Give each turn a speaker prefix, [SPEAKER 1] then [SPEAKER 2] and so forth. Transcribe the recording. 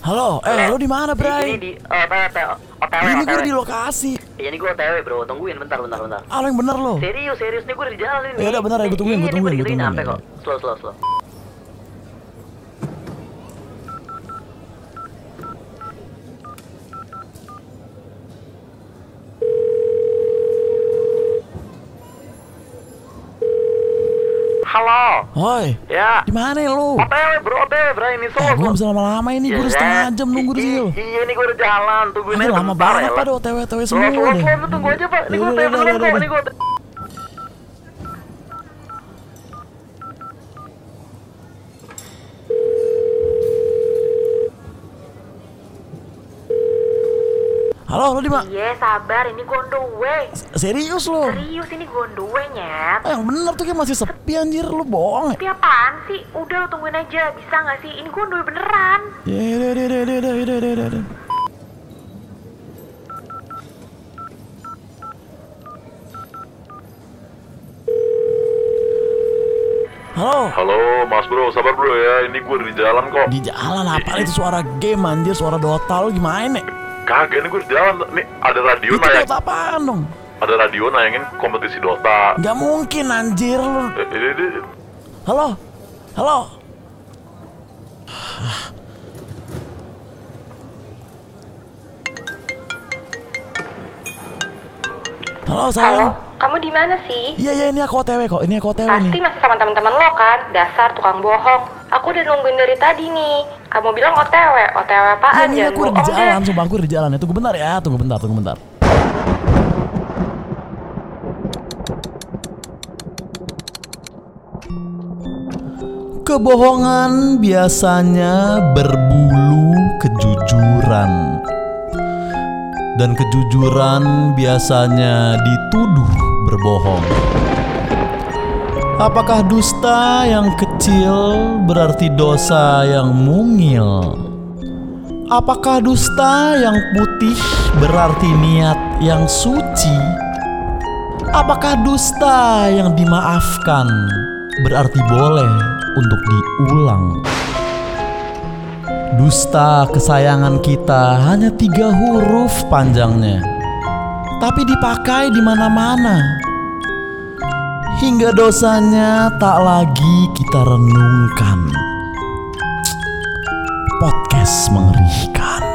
[SPEAKER 1] Halo, eh lu di mana,
[SPEAKER 2] Ini
[SPEAKER 1] Bray?
[SPEAKER 2] di eh, OTW, OTW, OTW.
[SPEAKER 1] Ini gue di lokasi.
[SPEAKER 2] Iya, ini gue OTW, bro. Tungguin bentar, bentar, bentar.
[SPEAKER 1] Ah, lu yang bener lo.
[SPEAKER 2] Serius, serius nih gue di jalan ini.
[SPEAKER 1] Ya udah, bentar, gua tungguin, gua
[SPEAKER 2] Iya, ini
[SPEAKER 1] tungguin, gua
[SPEAKER 2] digituin
[SPEAKER 1] tungguin.
[SPEAKER 2] sampai kok. Slow, slow, slow. Halo.
[SPEAKER 1] Hoi,
[SPEAKER 2] Ya.
[SPEAKER 1] di mana lu?
[SPEAKER 2] OTW, bro, OTW, bro. Ini slow.
[SPEAKER 1] Eh, gue
[SPEAKER 2] slow.
[SPEAKER 1] bisa lama-lama ini, gue udah
[SPEAKER 2] Iya,
[SPEAKER 1] setengah jam nunggu di
[SPEAKER 2] i-
[SPEAKER 1] situ.
[SPEAKER 2] i- Iya, ini gue udah jalan. Tungguin
[SPEAKER 1] Aduh,
[SPEAKER 2] aja
[SPEAKER 1] lama
[SPEAKER 2] bentar,
[SPEAKER 1] banget
[SPEAKER 2] ya,
[SPEAKER 1] pada otw-otw
[SPEAKER 2] Slow,
[SPEAKER 1] semua
[SPEAKER 2] slow,
[SPEAKER 1] deh.
[SPEAKER 2] slow, lu tunggu aja, Pak. Ini
[SPEAKER 1] Ya
[SPEAKER 2] gue
[SPEAKER 1] udah,
[SPEAKER 2] OTW
[SPEAKER 1] udah,
[SPEAKER 2] beneran
[SPEAKER 1] udah,
[SPEAKER 2] kok,
[SPEAKER 1] udah.
[SPEAKER 2] ini gue OTW.
[SPEAKER 1] Halo, lu di mana?
[SPEAKER 3] Iya sabar ini gue on the way
[SPEAKER 1] Serius lu?
[SPEAKER 3] Serius ini gue on the way nyet
[SPEAKER 1] Ah, yang bener tuh kayak masih sepi anjir, lu bohong. ya?
[SPEAKER 3] Tapi apaan sih? Udah lo tungguin aja Bisa gak sih? Ini gue on the way beneran
[SPEAKER 1] Ya, ya, ya, ya, ya, ya, ya, ya, ya. Halo,
[SPEAKER 4] Halo, Mas Bro, sabar Bro ya. Ini gue di jalan kok.
[SPEAKER 1] di jalan apa itu suara game anjir, suara Dota lu gimana nih?
[SPEAKER 4] Kagak nih gue di jalan. Nih ada radio
[SPEAKER 1] Itu
[SPEAKER 4] nayang,
[SPEAKER 1] Dota apaan dong?
[SPEAKER 4] ada radio nayangin kompetisi Dota.
[SPEAKER 1] Gak mungkin anjir lu.
[SPEAKER 4] Eh, eh, eh, eh.
[SPEAKER 1] Halo? Halo? Halo sayang?
[SPEAKER 5] Halo, kamu di mana sih?
[SPEAKER 1] Iya iya ini aku OTW kok, ini aku OTW
[SPEAKER 5] Pasti
[SPEAKER 1] nih
[SPEAKER 5] masih sama teman-teman lo kan? Dasar tukang bohong. Aku udah nungguin dari tadi nih. Kamu bilang OTW, OTW
[SPEAKER 1] Iya
[SPEAKER 5] apaan?
[SPEAKER 1] ini
[SPEAKER 5] Jangan
[SPEAKER 1] aku udah di
[SPEAKER 5] bohong
[SPEAKER 1] jalan,
[SPEAKER 5] deh.
[SPEAKER 1] sumpah aku udah di jalan ya Tunggu bentar ya, tunggu bentar, tunggu bentar Kebohongan biasanya berbulu kejujuran Dan kejujuran biasanya dituduh berbohong Apakah dusta yang kecil berarti dosa yang mungil? Apakah dusta yang putih berarti niat yang suci? Apakah dusta yang dimaafkan berarti boleh untuk diulang? Dusta kesayangan kita hanya tiga huruf panjangnya, tapi dipakai di mana-mana. Hingga dosanya tak lagi kita renungkan podcast mengerikan.